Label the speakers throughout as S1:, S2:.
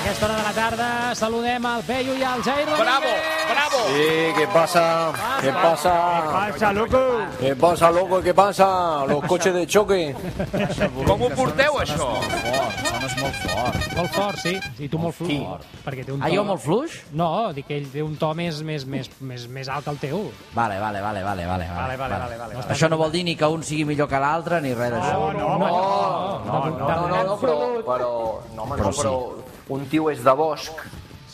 S1: aquesta hora de la tarda. Saludem al Peyu i al Jair
S2: Bravo,
S1: Rodríguez.
S2: bravo.
S3: Sí, ¿qué pasa? ¿Qué pasa?
S4: Passa, loco!
S3: ¿Qué pasa, loco? ¿Qué pasa? Los coches de choque.
S2: Com ho porteu, això?
S1: Molt fort, sí. I tu molt fluix. Perquè té un
S5: Ah, jo molt fluix?
S1: No, dic que ell té un to més, més, més, més, més alt que el teu.
S5: Vale, vale, vale, vale, vale.
S4: Vale, vale, vale, vale. vale.
S5: Això no vol dir ni que un sigui millor que l'altre ni res d'això.
S4: No, no,
S1: no,
S3: No, no, no, no, no però, però, no, home, no, però un tio és de bosc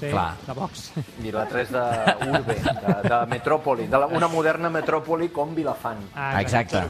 S1: Sí,
S5: Clar.
S1: de Vox.
S3: i l'altre és de urbe, de, de metròpoli, de la, una moderna metròpoli com Vilafant.
S1: Ah,
S5: Exacte.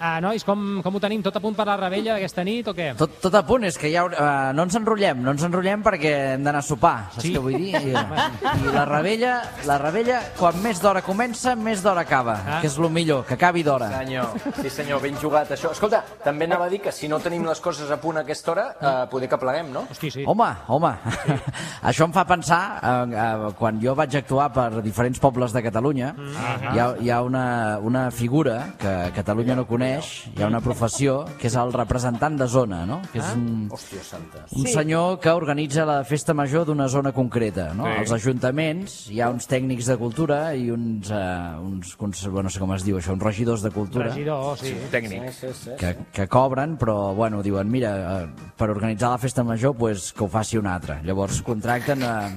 S1: Ah, nois, com, com ho tenim? Tot a punt per la rebella d'aquesta nit o què?
S5: Tot, tot a punt, és que ja uh, no ens enrotllem, no ens enrotllem perquè hem d'anar a sopar, saps
S1: Sí.
S5: què vull dir? I, I la rebella, la rebella, quan més d'hora comença, més d'hora acaba,
S1: Ah.
S5: que és el millor, que acabi d'hora.
S3: Senyor, sí senyor, ben jugat això. Escolta, també anava a dir que si no tenim les coses a punt a aquesta hora, eh, poder que pleguem, no?
S1: Hosti, sí.
S5: Home, home, això em fa pensar, eh, eh, quan jo vaig actuar per diferents pobles de Catalunya,
S1: Mhm.
S5: hi ha, hi ha una, una figura que Catalunya no coneix, hi ha una professió, que és el representant de zona, no? que
S1: Ah.
S5: és un,
S3: Hòstia santa.
S5: un senyor que organitza la festa major d'una zona concreta. No? Als ajuntaments hi ha uns tècnics de cultura i uns, eh, uns cons- bueno, no sé com es diu això, uns regidors de cultura
S1: Regidor, sí.
S2: Tècnic.
S5: que, que cobren, però bueno, diuen, mira, eh, per organitzar la festa major pues, que ho faci un altre. Llavors contracten a,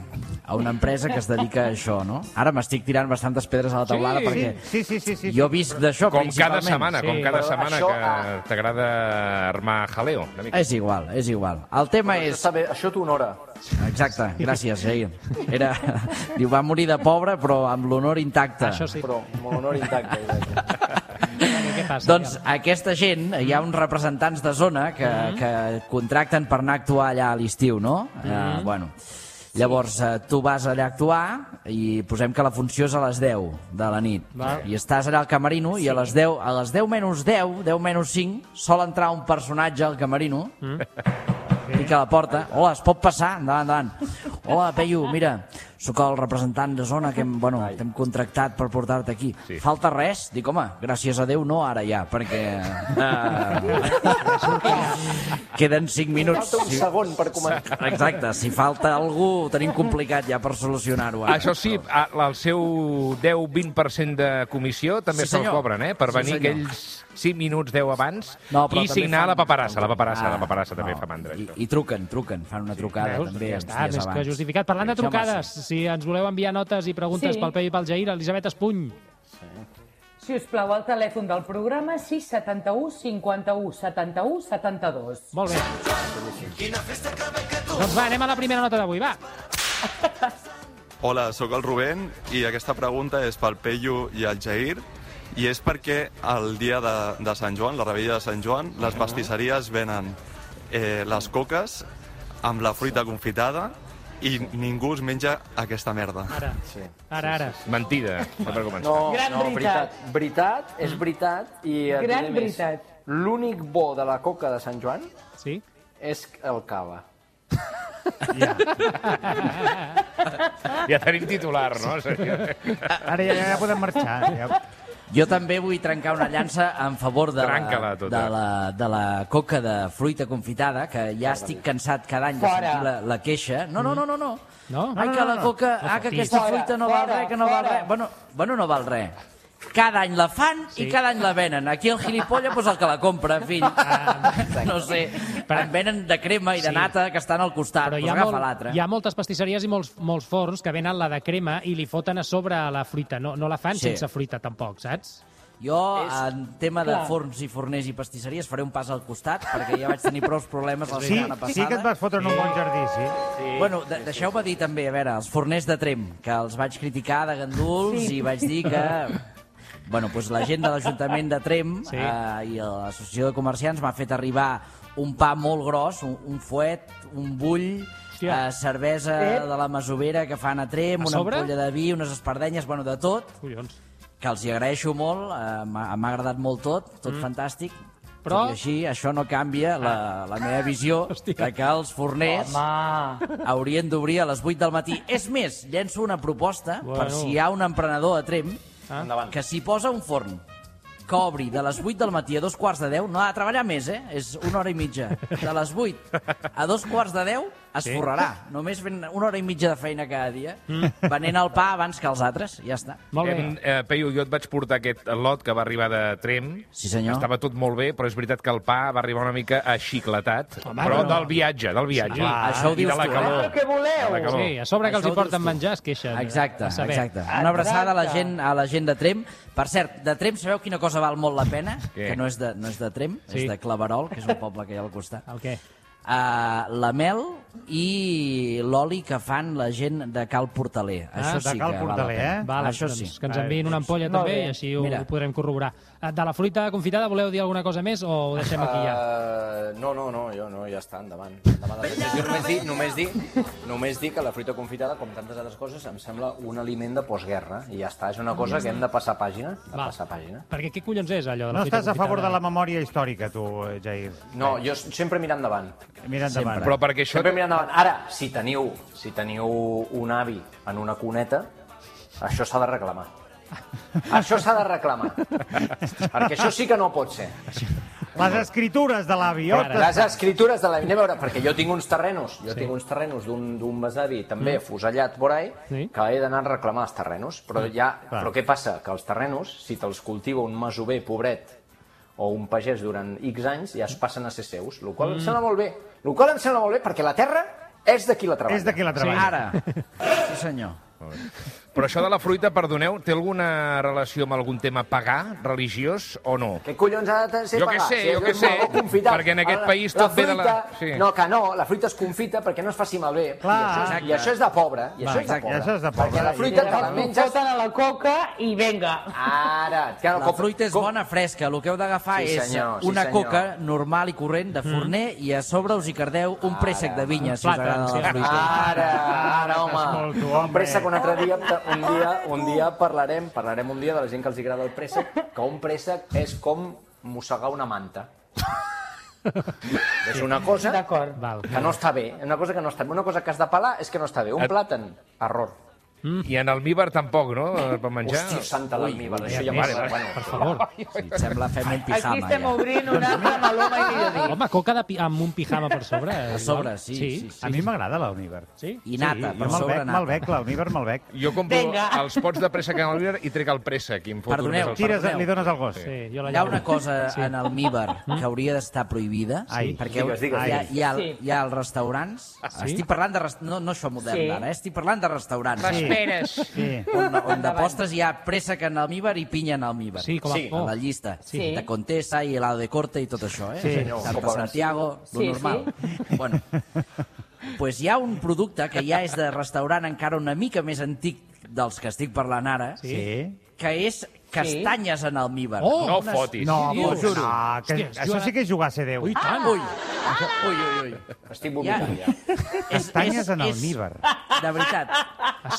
S5: a una empresa que es dedica a això, no? Ara m'estic tirant bastantes pedres a la taulada
S1: Sí,
S5: perquè
S4: Sí, sí, sí, sí.
S5: jo visc d'això
S2: Com cada
S5: principalment.
S2: setmana,
S1: sí.
S2: com cada
S3: Però
S2: setmana
S3: això,
S2: que
S3: ah.
S2: t'agrada armar jaleo. Una mica.
S5: És igual, és igual. El tema
S3: Això,
S5: és...
S3: està bé, això t'honora.
S5: Exacte, gràcies, Jair. Era... Diu, va morir de pobre, però amb l'honor intacte.
S1: Això sí.
S3: Però molt honor intacte. exacte.
S1: Què passa?
S5: Doncs aquesta gent, hi ha uns representants de zona que, que contracten per anar a actuar allà a l'estiu, no? eh, bueno. Llavors, eh, tu vas allà a actuar i posem que la funció és a les 10 de la nit.
S1: Val.
S5: I estàs allà al camerino i a les 10, a les 10 menys 10, 10 menys 5, sol entrar un personatge al camerino Pica la porta. Hola, es pot passar? Endavant, endavant. Hola, Peyu, mira, sóc el representant de zona que hem, bueno, t'hem contractat per portar-te aquí.
S2: Sí.
S5: Falta res? Dic, home, gràcies a Déu, no ara ja, perquè...
S2: Ah.
S5: eh, Queden 5 minuts.
S3: Falta un
S5: Si-
S3: segon per començar.
S5: Exacte, si falta algú ho tenim complicat ja per solucionar-ho. ara.
S2: Això sí, a- el seu 10-20% de comissió també
S5: Sí,
S2: se'l
S5: senyor.
S2: cobren, eh? Per
S5: Sí,
S2: venir
S5: senyor.
S2: aquells 5 minuts, 10 abans,
S5: No, però
S2: i
S5: també
S2: signar
S5: fan-
S2: la paperassa. La paperassa, la
S5: Ah,
S2: paperassa també
S5: no.
S2: fa mandra,
S5: I,
S2: això.
S5: I truquen, truquen, fan una trucada
S1: Veus?
S5: també
S1: ja
S5: uns
S1: està,
S5: dies
S1: més que
S5: abans.
S1: justificat. Parlant de
S5: Sí, home,
S1: trucades,
S5: sí.
S1: si ens voleu enviar notes i preguntes
S6: Sí.
S1: pel Peyu i pel Jair, Elisabet Espuny.
S6: Si us plau, el telèfon del programa 671 51 71 72.
S1: Molt bé. Doncs va, anem a la primera nota d'avui, va.
S7: Hola, sóc el Rubén i aquesta pregunta és pel Peyu i el Jair i és perquè el dia de, de Sant Joan, la rebella de Sant Joan, les pastisseries venen eh, les coques amb la fruita confitada i ningú es menja aquesta merda.
S1: Ara,
S3: Sí.
S1: ara, ara.
S2: Mentida, no per començar.
S3: No,
S6: Gran
S3: no,
S6: veritat.
S3: veritat. Veritat, és veritat. I et
S6: Gran
S3: diré més.
S6: veritat.
S3: L'únic bo de la coca de Sant Joan
S1: Sí?
S3: és el cava.
S2: Ja tenim titular, no?
S4: Ara ja, ja podem marxar. Ja.
S5: Jo també vull trencar una llança en favor de la,
S2: Trenca-la
S5: de
S2: tota.
S5: la, de la coca de fruita confitada, que ja estic cansat cada any de
S6: Fora.
S5: sentir la, la queixa. No, no, no, no, no.
S1: No?
S5: Ai,
S1: No,
S5: que
S1: no,
S5: la
S1: no, no.
S5: coca,
S1: No
S5: ah, que
S1: fotis.
S5: aquesta fruita no val
S6: Fora,
S5: res, que no val
S6: fora.
S5: res. Bueno, bueno, no val res. Cada any la fan i cada any la venen. Aquí el gilipolla, doncs el que la compra, fill.
S1: Ah,
S5: no sé, en venen de crema i de nata que estan al costat,
S1: Però
S5: doncs
S1: hi ha,
S5: agafa l'altra.
S1: hi ha moltes pastisseries i molts, molts forns que venen la de crema i li foten a sobre la fruita. No, no la fan
S5: Sí.
S1: sense fruita, tampoc, saps?
S5: Jo, en tema de
S6: Clar.
S5: forns i forners i pastisseries, faré un pas al costat, perquè ja vaig tenir prou problemes la
S4: Sí,
S5: setmana passada.
S4: sí que et vas fotre en un bon jardí, sí.
S5: Bueno, de deixeu-me dir també, a veure, els forners de Trem, que els vaig criticar de ganduls i vaig dir que... Bueno, doncs la gent de l'Ajuntament de Trem
S1: Sí.
S5: eh, i l'Associació de Comerciants m'ha fet arribar un pa molt gros, un, un fuet, un bull,
S1: Hòstia.
S5: eh, cervesa
S6: Ep.
S5: de la masovera que fan a Trem,
S1: A
S5: una
S1: sobre?
S5: ampolla de vi, unes espardenyes, bueno, de tot
S1: Collons.
S5: que els hi agraeixo molt, eh, m'ha m'ha agradat molt tot, tot fantàstic,
S1: Però-
S5: però... Tot i així, això no canvia la, la meva visió
S1: Hòstia.
S5: de que els forners
S6: Home,
S5: haurien d'obrir a les 8 del matí. És més, llenço una proposta
S1: Bueno.
S5: bueno. per si hi ha un emprenedor a Trem
S1: Ah.
S3: Endavant.
S5: que s'hi posa un forn que obri de les 8 del matí a dos quarts de 10, no ha de treballar més, eh? És una hora i mitja. De les 8 a dos quarts de 10 es
S1: Sí.
S5: forrarà. Només fent una hora i mitja de feina cada dia, venent el pa abans que els altres, ja està.
S1: Molt bé.
S2: Hem, eh, Peyu, jo et vaig portar aquest lot que va arribar de Trem.
S5: Sí, senyor.
S2: Estava tot molt bé, però és veritat que el pa va arribar una mica aixicletat.
S1: Home,
S2: però
S1: però-
S2: del viatge, del viatge.
S1: Sí, clar,
S5: això ho
S2: I
S5: dius
S2: de la
S5: tu, eh?
S2: calor.
S6: Què voleu?
S2: De la calor.
S1: Sí, a sobre que els
S5: Això ho
S1: hi porten
S5: dius tu.
S1: menjar es queixen. eh?
S5: Exacte,
S1: A saber.
S5: exacte. Una abraçada a la gent, a la gent de Trem. Per cert, de Trem sabeu quina cosa val molt la pena?
S2: Què?
S5: Que no és de, no és de Trem,
S1: Sí.
S5: és de Claverol, que és un poble que hi ha al costat.
S1: El què?
S5: Uh, la mel i l'oli que fan la gent de Cal Portaler.
S1: Ah,
S5: Això
S4: de
S5: sí
S4: Cal
S5: que
S4: Portaler,
S5: val la pena.
S4: eh?
S1: Val,
S5: Això
S1: doncs,
S5: sí.
S1: que ens enviïn una ampolla
S6: Molt
S1: també
S6: bé.
S1: i així ho,
S5: Mira.
S1: ho podrem corroborar. Eh, De la fruita confitada, voleu dir alguna cosa més o ho deixem aquí ja?
S3: Uh, no, no, no, jo no, ja està, endavant. endavant de fet. jo només dir, només, dir, només dir que la fruita confitada, com tantes altres coses, em sembla un aliment de postguerra. I ja està, és una cosa que hem de passar pàgina. De
S1: Val.
S3: passar pàgina.
S1: Perquè què collons és allò de la
S4: No
S1: fruita
S4: estàs a favor de
S1: confitada?
S4: la memòria històrica, tu, eh, Jair.
S3: No, jo s- sempre mirar endavant.
S4: Mira endavant.
S2: Però perquè això...
S3: Sempre mirar endavant. Ara, si teniu, si teniu un avi en una cuneta, això s'ha de reclamar. Això s'ha de reclamar. Perquè això sí que no pot ser.
S4: Les escritures de l'avi. oh,
S1: Ara.
S3: Les escritures de la... Anem a veure, perquè jo tinc uns terrenos, jo sí. tinc uns terrenos d'un d'un besavi també mm. fusellat por ahí,
S1: Sí.
S3: sí. Mm. que he d'anar a reclamar els terrenos. Però, ja, però què passa? Que els terrenos, si te'ls cultiva un masover pobret o un pagès durant X anys, ja es passen a ser seus, el qual mm. em sembla molt bé. El qual em sembla molt bé perquè la terra és de qui la treballa.
S4: És de qui la treballa.
S5: Ara. Sí, senyor.
S2: Però això de la fruita, perdoneu, té alguna relació amb algun tema pagà, religiós o no?
S3: Què collons ha de ser
S2: Jo què
S3: pagar?
S2: sé, jo
S3: és
S2: què
S3: un
S2: sé,
S3: meló confitat.
S2: perquè en aquest
S3: Ara,
S2: país tot ve de la-
S3: fruita-
S2: sí.
S3: No, que no, la fruita es confita perquè no es faci malbé.
S4: Clar.
S3: I, això és, I això és de pobre. I això, és de
S5: exacte,
S3: pobre.
S4: això és de pobre.
S3: Perquè la
S4: I
S3: fruita te la
S6: Llavors t'ho
S3: menges...
S6: foten a la coca i venga.
S3: Ara, clar,
S5: La fruita és bona, fresca. El que heu d'agafar
S3: Sí,
S5: és
S3: senyor, sí,
S5: una
S3: senyor.
S5: coca normal i corrent de forner i a sobre us hi cardeu un préssec de vinya, si us
S1: plàtan,
S5: agrada
S1: sí,
S5: la fruita.
S3: Ara, ara,
S4: t'escolto,
S3: home.
S4: home.
S3: Un préssec un altre dia, un dia, un dia parlarem, parlarem un dia de la gent que els agrada el préssec, que un préssec és com mossegar una manta. És una cosa
S6: D'acord.
S1: Val.
S3: que no està bé, una cosa que no està bé. Una cosa que has de pelar és que no està bé. Un
S2: Et-
S3: plàtan, error.
S2: I en almíbar tampoc, no? Eh, Per menjar?
S3: Hòstia santa l'almíbar, això ja
S1: Ernest,
S3: passa.
S1: Per
S3: Bueno,
S1: favor.
S5: Sí, et sembla fem un
S6: Aquí
S5: pijama,
S6: estem
S5: ja.
S6: obrint una altra maloma i millor dit.
S1: Home, coca de pi amb un pijama per sobre. eh,
S5: A sobre, sí,
S1: Sí,
S5: sí,
S4: A mi m'agrada la Univer.
S1: sí.
S5: I nata,
S4: jo
S5: per
S4: me'l
S5: sobre
S4: bec,
S5: nata.
S4: me'l bec, la Univer me'l bec.
S2: Jo compro
S6: Vinga.
S2: els pots de préssec en almíbar i trec el préssec. I em foto
S5: Perdoneu,
S2: només el
S4: Tires,
S5: Perdoneu.
S4: li dones al gos.
S1: sí jo la
S5: Hi ha
S1: llamo.
S5: una cosa en el Míber
S1: Mm?
S5: que hauria d'estar prohibida,
S4: Ai.
S5: perquè
S3: Digues, digues,
S5: hi, ha,
S3: digues.
S5: hi, ha,
S6: Sí.
S5: hi ha els restaurants...
S1: Ah,
S5: Estic parlant de... rest- No, no això modern,
S6: Sí.
S5: ara, eh? estic parlant de restaurants.
S2: Les peres.
S4: Sí.
S5: On, on de postres hi ha préssec en almíbar i pinya en almíbar.
S1: Sí, com a...
S3: Sí.
S5: A la
S1: Oh,
S5: llista.
S6: Sí.
S5: De Contessa i helado de corte i tot això, eh?
S4: Sí,
S3: senyor.
S5: Santa
S3: Com
S5: Santiago, lo
S6: Sí,
S5: normal. Bueno, pues hi ha un producte que ja és de restaurant encara una mica més antic dels que estic parlant ara,
S1: Sí.
S4: Sí.
S5: que és castanyes en almíbar.
S1: Oh!
S2: No fotis.
S4: No,
S1: Sí,
S4: m'ho
S1: dius?
S4: juro. No, que,
S1: Hòstia,
S4: això
S1: Joan-
S4: sí que és jugar a ser Déu.
S1: Ui, tant.
S5: Ui, ui, ui, ui.
S3: estic vomitant ja.
S5: És,
S4: Castanyes
S5: és-
S4: en
S5: és-
S4: almíbar.
S5: De veritat.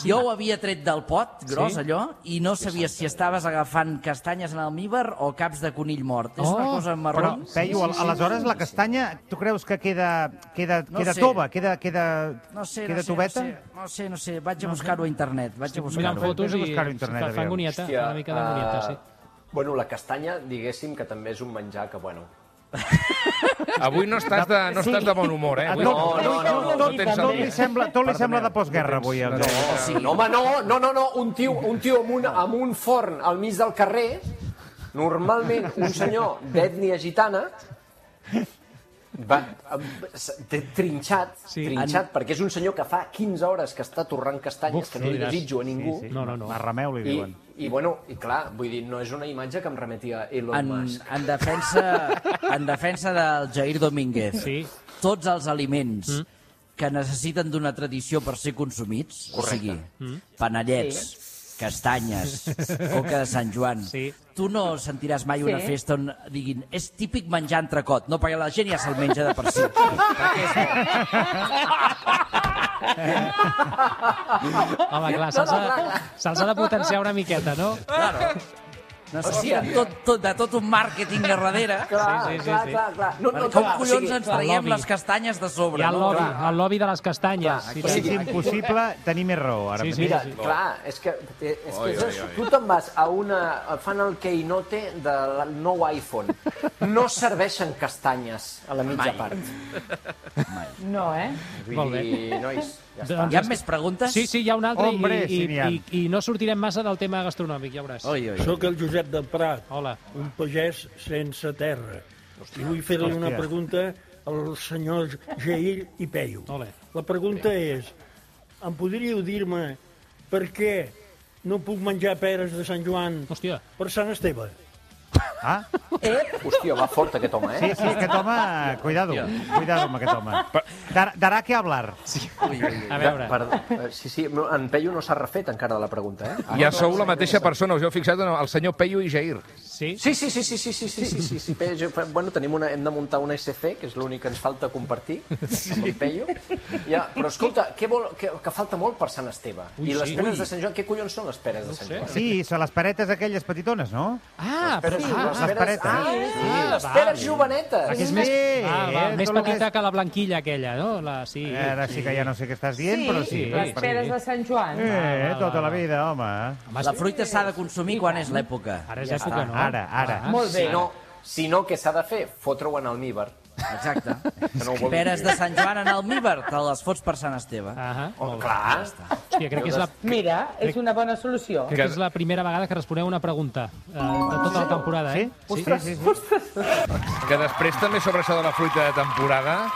S5: Jo ho havia tret del pot, gros,
S1: Sí?
S5: allò, i no sabia si estaves agafant castanyes en almíbar o caps de conill mort. És una
S1: Oh,
S5: cosa
S4: Però,
S5: marró.
S4: Peyu, al- aleshores la castanya, tu creus que queda, queda,
S5: No
S4: queda
S5: sé.
S4: tova, queda, queda,
S5: No sé,
S4: queda
S5: no sé,
S4: tubeta?
S5: No sé, no sé, no sé. Vaig a buscar-ho a internet. Vaig a
S1: Mirant
S5: buscar-ho.
S1: fotos
S4: Vés a
S1: i
S4: buscar-ho a internet,
S1: fa, fa
S4: aviam.
S1: angonieta, una mica d'angonieta, sí.
S3: eh, Bueno, la castanya, diguéssim que també és un menjar que, bueno...
S2: Avui no estàs de, no estàs de bon humor, eh?
S4: A
S2: Avui
S4: tot,
S3: no, no, no, no,
S4: tot,
S2: no tens
S4: tot li
S2: el-
S4: sembla, tot li sembla de postguerra, avui. El Jair.
S1: Oh,
S5: O sigui,
S3: No, home, no, no, no, no. Un tio, un tio amb, un, amb un forn al mig del carrer, normalment un senyor d'ètnia gitana, va, s- té trinxat,
S1: Sí.
S3: sí. trinxat, perquè és un senyor que fa 15 hores que està torrant castanyes,
S1: Buf,
S3: que no li
S1: diràs.
S3: desitjo a ningú,
S1: Sí, sí. No, no, no.
S4: Marrameu, li
S3: I,
S4: diuen.
S3: i, bueno, i clar, vull dir, no és una imatge que em remeti a Elon
S5: en,
S3: Musk.
S5: en, defensa, en defensa del Jair Domínguez,
S1: Sí. Mm.
S5: tots els aliments que necessiten d'una tradició per ser consumits, o sigui,
S1: Mm.
S5: panellets, castanyes, coca de Sant Joan,
S1: Sí.
S5: tu no sentiràs mai una
S6: Sí.
S5: festa on diguin és típic menjar entrecot, no, perquè la gent ja se'l menja de per si. Perquè és Ah!
S1: Home, clar, se'ls ha, se ha de potenciar una miqueta, no?
S5: Necessiten tot, tot, de tot un màrqueting a darrere.
S3: Clar, sí, sí, clar, sí, clar, clar. No, no,
S5: Com
S3: clar, o sigui,
S5: collons ens traiem
S1: lobby.
S5: les castanyes de
S1: Hi
S5: sobre?
S1: ha el
S5: no?
S1: lobby, el lobby de les castanyes.
S3: Clar,
S1: Sí,
S3: clar.
S1: sí.
S4: És impossible tenir més raó, ara
S1: Sí,
S4: mateix.
S1: sí.
S3: Mira, clar, és que, és que
S2: Oi,
S3: és
S2: oi,
S3: això.
S2: oi.
S3: tu te'n vas a una... fan el keinote del nou iPhone. No serveixen castanyes a la mitja Mai. part.
S6: No, eh?
S3: Vull
S1: Molt bé.
S3: dir, nois, ja està.
S5: Hi ha més preguntes?
S1: Doncs, Sí, sí, hi ha un altre i-
S4: Hombre,
S1: i,
S4: sí, n'hi ha.
S1: i, i, no sortirem massa del tema gastronòmic, ja veuràs.
S5: Oi, oi.
S8: Soc el Josep del Prat,
S1: Hola.
S8: un pagès sense terra. I vull fer-li una
S4: Hòstia.
S8: pregunta al senyor Jair i Peyu.
S1: Ole.
S8: La pregunta és, em podríeu dir-me per què no puc menjar peres de Sant Joan
S1: Hòstia,
S8: per Sant Esteve?
S4: Ah,
S3: Hòstia, va fort aquest home,
S4: sí,
S3: eh?
S4: sí, aquest home... Cuidado, cuidado amb aquest home. Dar- Darà que hablar.
S1: a veure.
S3: Perdó. eh, Sí, sí, no, en Peyu no s'ha refet encara de la pregunta, eh?
S2: Ja sou la mateixa persona, us heu fixat en el senyor Peyu i Jair.
S1: Sí?
S3: Sí, sí, sí, sí, sí, sí, sí, sí, sí, sí. Peyu, bueno, tenim una, hem de muntar una SC, que és l'únic que ens falta compartir amb en Peyu. Ja, però escolta, què vol, que, que falta molt per Sant Esteve.
S1: Ui,
S3: I les
S1: sí.
S3: peres de Sant Joan, què collons són les peres de Sant
S1: sé.
S3: Joan?
S4: Sí, són les paretes aquelles petitones, no?
S1: Ah,
S3: Però
S1: sí.
S3: sí, les
S4: les
S3: peres,
S4: peretes.
S3: ah, sí, les peres jovenetes.
S4: Aquí és més,
S1: Ah, va,
S4: eh,
S1: més
S4: tot lo
S1: petita que la blanquilla aquella, no? La, sí.
S4: Eh, ara sí que ja no sé què estàs dient, però sí.
S1: sí,
S4: per-
S6: les peres de Sant Joan.
S4: Eh,
S1: va,
S4: tota
S1: va,
S4: la
S1: va.
S4: vida, home.
S1: Home,
S5: La fruita s'ha de consumir quan és l'època.
S1: Ara és
S5: Ja
S1: època,
S5: està.
S1: no?
S4: Ara, ara.
S1: Ah,
S6: Molt bé.
S3: Si no, si no què s'ha de fer? Fotre-ho en almíbar.
S5: Exacte.
S3: Que no ho vol
S5: Peres
S3: dir.
S5: de Sant Joan en almíbar, te les fots per Sant Esteve.
S1: Ah,
S3: Oh,
S1: molt bé.
S3: clar.
S1: Hòstia, crec que és la...
S6: Mira, és una bona solució.
S1: Crec que és la primera vegada que responeu una pregunta eh, de tota la temporada, eh?
S4: Sí? Ostres, sí, sí, sí.
S2: Que després també sobre això de la fruita de temporada...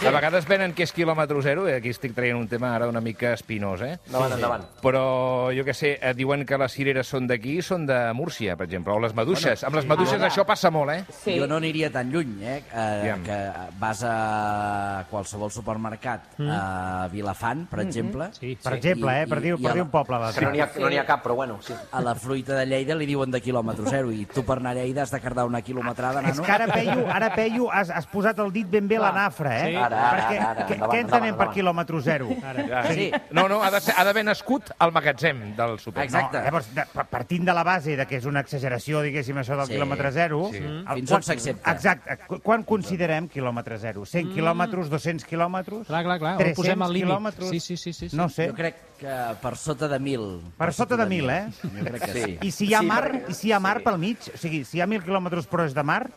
S2: Sí. A vegades venen que és quilòmetre zero, i aquí estic traient un tema ara una mica espinós, eh?
S3: Endavant, endavant.
S2: Però, jo que sé, eh, diuen que les cireres són d'aquí i són de Múrcia, per exemple, o les maduixes. Bueno, Amb les maduixes
S6: Ara.
S2: això passa molt, eh?
S6: Sí.
S5: Jo no aniria tan lluny, eh? eh
S2: Aviam.
S5: que vas a qualsevol supermercat, a Vilafant, per exemple.
S1: Sí,
S4: Per
S1: sí.
S4: exemple, eh, per dir,
S5: i a
S4: per dir
S5: la-
S4: un poble.
S3: Que no
S4: l'altre.
S3: n'hi ha, no n'hi ha cap, però bueno, sí.
S5: A la fruita de Lleida li diuen de quilòmetre zero i tu per anar a Lleida has de cardar una quilometrada,
S4: És
S5: nano.
S4: que ara, Peyu, ara Peyu, has, has posat el dit ben bé a la nafra, eh?
S1: Sí.
S3: Ara, ara,
S4: Perquè,
S3: ara, ara,
S4: què-
S3: endavant,
S4: què entenem
S3: endavant,
S4: per
S3: endavant.
S4: quilòmetre zero?
S2: Ja.
S5: Sí.
S2: No, no, ha de, ser, ha d'haver nascut al magatzem del súper.
S5: Exacte.
S4: No, llavors, de, pa- partint de la base de que és una exageració, diguéssim, això del
S5: Sí.
S4: quilòmetre zero...
S2: Sí.
S4: el-
S5: Fins on s'accepta.
S4: Exacte. Qu- Quan considerem quilòmetre zero? 100 quilòmetres, 200 quilòmetres?
S1: Clar, clar, clar. On
S4: 300
S1: posem el límit?
S4: quilòmetres?
S1: Sí, sí, sí, sí, sí.
S4: No sé.
S5: Jo crec que per sota de mil.
S4: Per sota de mil, eh?
S5: Jo crec que sí.
S4: I si hi ha
S3: Sí,
S4: mar,
S3: perquè-
S4: i si hi ha mar
S3: sí.
S4: pel mig, o sigui, si hi ha 1.000 quilòmetres però és de mar,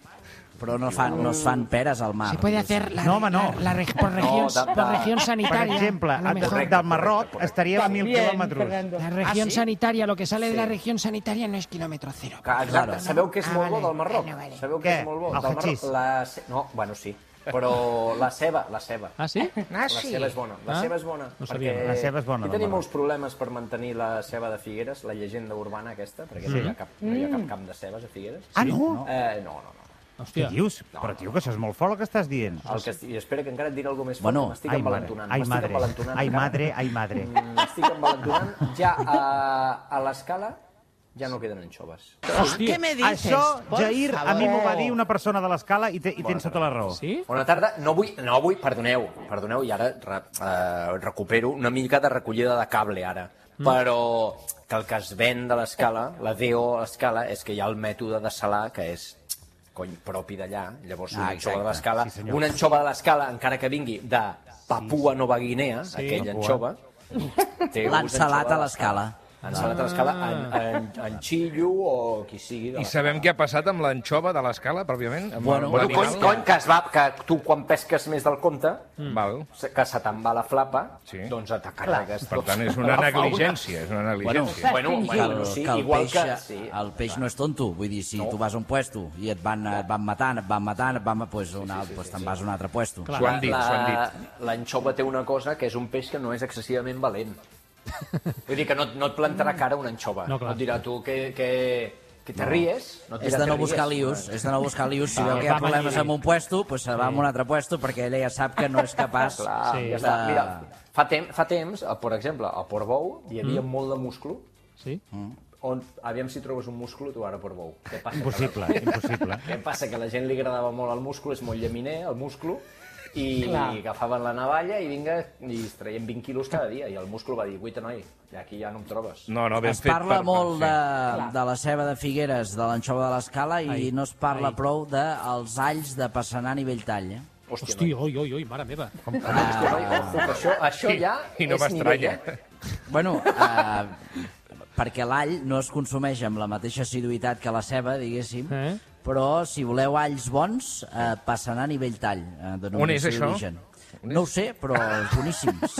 S5: Però no, fan, no es fan peres al mar.
S4: la- No, home, no. la-
S1: por,
S3: regions- da- da- por región
S4: per exemple, a- de- del Marroc estaria a 1.000 quilòmetres.
S6: Fernando.
S9: La
S4: Ah,
S9: región sanitaria, lo que sale de la región sanitaria no es kilómetro cero.
S3: Que, exacte,
S5: Claro.
S3: sabeu que és
S9: Ah,
S3: molt bo
S9: vale.
S3: del Marroc?
S9: Bueno, vale.
S3: Sabeu que
S4: Què?
S3: és molt bo
S4: El
S3: del Marroc?
S4: hachís?
S3: La... ce- No, bueno, sí. Però la ceba, la ceba.
S1: Ah, sí?
S9: Ah,
S3: La
S9: sí.
S3: ceba és bona, la
S1: Ah?
S3: ceba és bona.
S1: No sabia.
S4: La ceba és bona,
S3: Aquí
S4: del
S3: tenim
S4: Marroc.
S3: molts problemes per mantenir la ceba de Figueres, la llegenda urbana aquesta, perquè no, hi ha cap, no hi ha
S9: Mm.
S3: cap camp de cebes a Figueres.
S4: Ah, no?
S3: Eh, no, no, no.
S4: Què
S1: Hòstia.
S4: dius? Però, tio, que això és molt fort el que estàs dient.
S3: El que estic, I espera que encara et diré alguna més fort,
S5: Bueno,
S3: que m'estic
S4: Ai, mare,
S3: envalentonant.
S4: ai,
S3: m'estic
S4: madre,
S3: envalentonant
S4: ai,
S3: encara.
S4: madre, ai, madre.
S3: M'estic envalentonant. Ja a, a l'escala ja no queden anxoves.
S1: Hòstia.
S9: me
S4: Això, Jair, a mi m'ho va dir una persona de l'escala i, te, i tens tota la raó.
S1: Sí?
S3: Bona tarda. No vull, no vull, perdoneu, perdoneu, i ara re, eh, recupero una mica de recollida de cable, ara. Però que el que es ven de l'escala, la DO a l'escala, és que hi ha el mètode de salar, que és cony, propi d'allà. Llavors, una
S5: Ah,
S3: anxova de
S5: exacte.
S3: l'escala,
S4: Sí,
S3: sí,
S4: senyor.
S3: una anxova de l'escala, encara que vingui de Papua Nova Guinea, sí, aquella anxova, té
S5: L'han
S3: gust
S5: salat
S3: d'anxova
S5: a l'escala.
S3: Han salat a l'escala en, en, en Xillo o qui sigui.
S2: I
S3: de l'escala.
S2: sabem què ha passat amb l'anxova de l'escala, pròpiament? Amb
S5: Bueno,
S2: amb
S3: Bueno,
S2: l'animal?
S3: cony, cony, que es va, que tu quan pesques més del compte,
S2: Val.
S3: se- que se te'n va la flapa,
S2: Sí.
S3: sí. doncs et carregues.
S2: Per
S3: tot.
S2: tant, és una
S3: La fauna.
S2: negligència, és una negligència.
S3: Bueno,
S5: Que el,
S3: bueno, sí,
S5: que el,
S3: igual
S5: peix,
S3: que... Sí.
S5: el peix no és tonto. Vull dir, si tu vas a un puesto i et van, et van matant, et van matant, et van... Pues, una, pues te'n vas a un altre puesto.
S2: S'ho han dit, s'ho han dit.
S3: La- L'anxova té una cosa que és un peix que no és excessivament valent. Vull dir que no, no et plantarà cara una anxova.
S1: No,
S3: No,
S1: clar.
S3: et dirà tu que, que, que te ries. No et
S5: És
S3: dirà
S5: de
S3: que
S5: no
S3: ries,
S5: buscar lius, és de no buscar lius. Si veu que hi
S1: va
S5: ha problemes
S1: venir.
S5: amb un puesto, pues se va a un altre puesto perquè ella ja sap que no és capaç.
S3: Clar,
S1: Sí.
S3: sí, ja està.
S5: La-
S3: Mira, fa, tem fa temps, eh, per exemple, a Port Bou hi havia mm. molt de musclo,
S1: Sí?
S3: on, aviam si trobes un musclo tu ara a Port Bou. Què passa?
S4: Impossible, impossible.
S3: Què passa? Que a la gent li agradava molt el musclo, és molt llaminer, el musclo, i
S6: Clar.
S3: agafaven la navalla i vinga, i es traien 20 quilos cada dia, i el múscul va dir, guaita, noi, aquí ja no em trobes.
S2: No, no, ben
S5: Es
S2: fet.
S5: parla
S2: per-
S5: molt
S2: per-
S5: de, de la ceba de Figueres, de l'anxova de l'escala, i no es parla prou dels alls de Passanant i Belltall. Eh?
S3: Hòstia,
S1: Hosti, oi, oi, oi, mare meva. Com...
S3: noi, hòstia, noi, ojo, que això, això ja
S2: Ah. I no
S3: és nivell,
S2: m'estranya.
S3: eh?
S5: Bueno, eh, perquè l'all no es consumeix amb la mateixa assiduïtat que la ceba, diguéssim,
S1: Eh?
S5: però si voleu alls bons, eh, Passanant i Belltall. Eh, d'on
S2: On és
S5: el seu
S2: això?
S5: origen. No ho sé, però boníssims.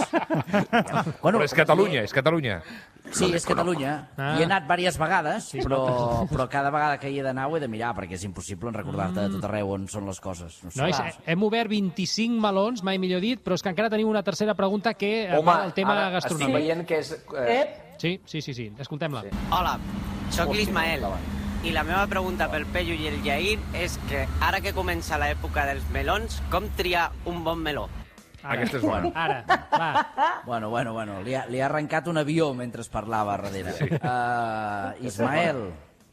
S5: bueno,
S2: Però és Catalunya, és Catalunya.
S5: Sí, és Catalunya.
S1: Ah.
S5: Hi he anat diverses vegades, però, però cada vegada que hi he d'anar ho he de mirar, perquè és impossible en recordar-te de tot arreu on són les coses. No, sé.
S1: Nois, eh, hem obert 25 melons, mai millor dit, però és que encara tenim una tercera pregunta que eh, va al tema
S3: ara estic
S1: gastronòmic.
S3: veient que és... Eh,
S6: Ep,
S1: Sí, sí, sí, sí. escoltem-la. Sí.
S10: Hola, sóc
S3: Hòstia,
S10: l'Ismael
S3: endavant.
S10: i la meva pregunta pel Peyu i el Jair és que ara que comença l'època dels melons, com triar un bon meló?
S2: Aquesta és bona.
S1: Ara, va.
S5: Bueno, bueno, bueno, li ha, li ha arrencat un avió mentre es parlava darrere. Sí. Uh, Ismael,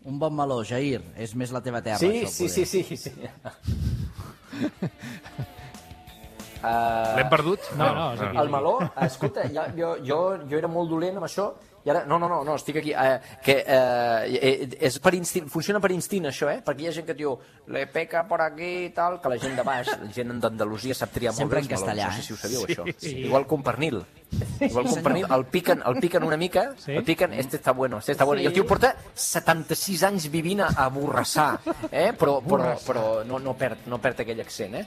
S5: un bon meló, Jair, és més la teva terra.
S3: sí,
S5: això,
S3: sí, sí,
S5: poder.
S3: sí, sí. Uh,
S2: L'hem perdut?
S1: No, no, és aquí.
S3: el meló, eh, escolta, ja, jo, jo, jo era molt dolent amb això, i ara, no, no, no, no estic aquí, eh, que eh, eh, és per instint, funciona per instint això, eh? perquè hi ha gent que diu, le peca por aquí i tal, que la gent de baix, la gent d'Andalusia sap triar molt
S5: Sempre
S3: bé
S5: en
S3: els melons,
S5: castellà,
S3: no sé
S5: eh?
S3: si ho sabíeu, sí, això. Sí. Igual que un pernil. Igual que un pernil, el piquen, el piquen una mica,
S1: Sí?
S3: sí? el piquen, este està bueno, este està bueno, i el tio porta 76 anys vivint a Borrassà, eh? però, però, però no, no, perd, no perd aquell accent, eh?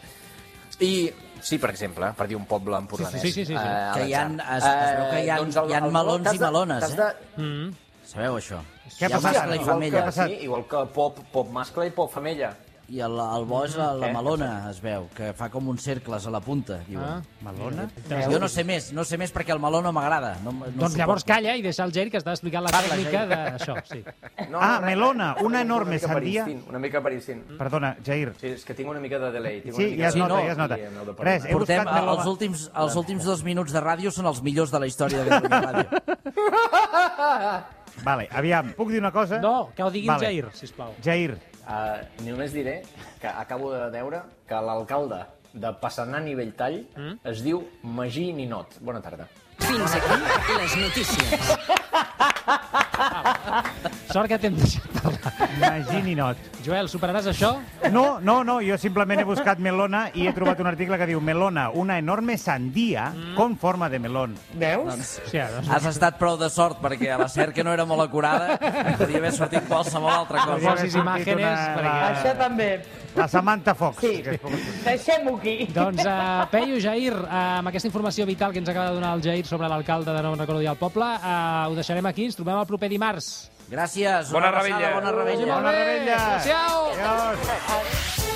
S3: I, sí, per exemple, per dir un poble empordanès.
S1: Sí, sí, sí, sí, sí.
S3: eh,
S5: Que hi ha-
S3: Alexandre.
S5: es- es veu que hi ha-
S3: Eh, el-
S5: hi ha
S3: el
S5: melons
S3: t'has
S5: i
S3: de-
S5: melones,
S3: t'has
S5: eh?
S3: de-
S1: Mm.
S5: Sabeu això? Hi
S4: Què ha
S5: ha
S4: passat?
S5: mascle i
S3: Igual
S5: femella.
S3: que, sí, igual que pop, pop mascle i pop femella.
S5: I el, el bo és la, la
S3: Eh?
S5: melona, es veu, que fa com uns cercles a la punta,
S1: Ah.
S5: diuen.
S4: Malona?
S5: Jo no sé més, no sé més perquè el meló no m'agrada. No, no
S1: Doncs
S5: suporto.
S1: llavors calla i deixa el Ger que està explicant la
S5: Parla,
S1: tècnica
S5: Ger.
S1: d'això. Sí.
S3: No,
S4: Ah,
S3: res,
S4: melona,
S3: res,
S4: una
S3: res,
S4: enorme
S3: mica per
S4: sandia.
S3: instint, Una mica per instint.
S4: Perdona, Jair.
S3: Sí, és que tinc una mica de delay. Tinc una
S4: Sí,
S3: mica
S4: ja es
S3: de
S4: nota,
S3: delay,
S4: ja es nota.
S3: i m'heu de perdonar.
S4: Res, eh? he
S5: Portem,
S4: buscat meló.
S5: els, últims, els últims dos minuts de ràdio són els millors de la història de Catalunya Ràdio.
S4: Vale, aviam, puc dir una cosa?
S1: No, que ho digui
S4: Vale.
S1: vale. el Jair, sisplau.
S4: Jair,
S3: Uh, només diré que acabo de veure que l'alcalde de Passanant i Belltall mm? es diu Magí Ninot. Bona tarda.
S9: Fins aquí les notícies.
S1: Sort que t'hem deixat parlar.
S4: imagini not.
S1: Joel, superaràs això?
S4: No, no, no, jo simplement he buscat melona i he trobat un article que diu melona, una enorme sandía
S1: Mm.
S4: con forma de melón.
S6: veus?
S1: O sigui, doncs,
S5: Has estat prou de sort, perquè a la cerca no era molt acurada, podia haver sortit qualsevol altra
S1: no
S5: cosa.
S1: posis imàgenes...
S4: una-
S1: perquè-
S4: Ah.
S6: Això també.
S4: La Samantha Fox.
S6: Sí.
S4: que és com-
S6: Deixem-ho aquí.
S1: Doncs, uh, Peyu, Jair, uh, amb aquesta informació vital que ens acaba de donar el Jair sobre l'alcalde de Nou Recordo i el Poble, uh, ho deixarem aquí, ens trobem el proper dimarts.
S5: Gràcies,
S2: Bona
S5: una abraçada,
S2: rebella.
S5: Bona rebella.
S4: Bona rebella.
S1: Adéu.
S4: Adiós.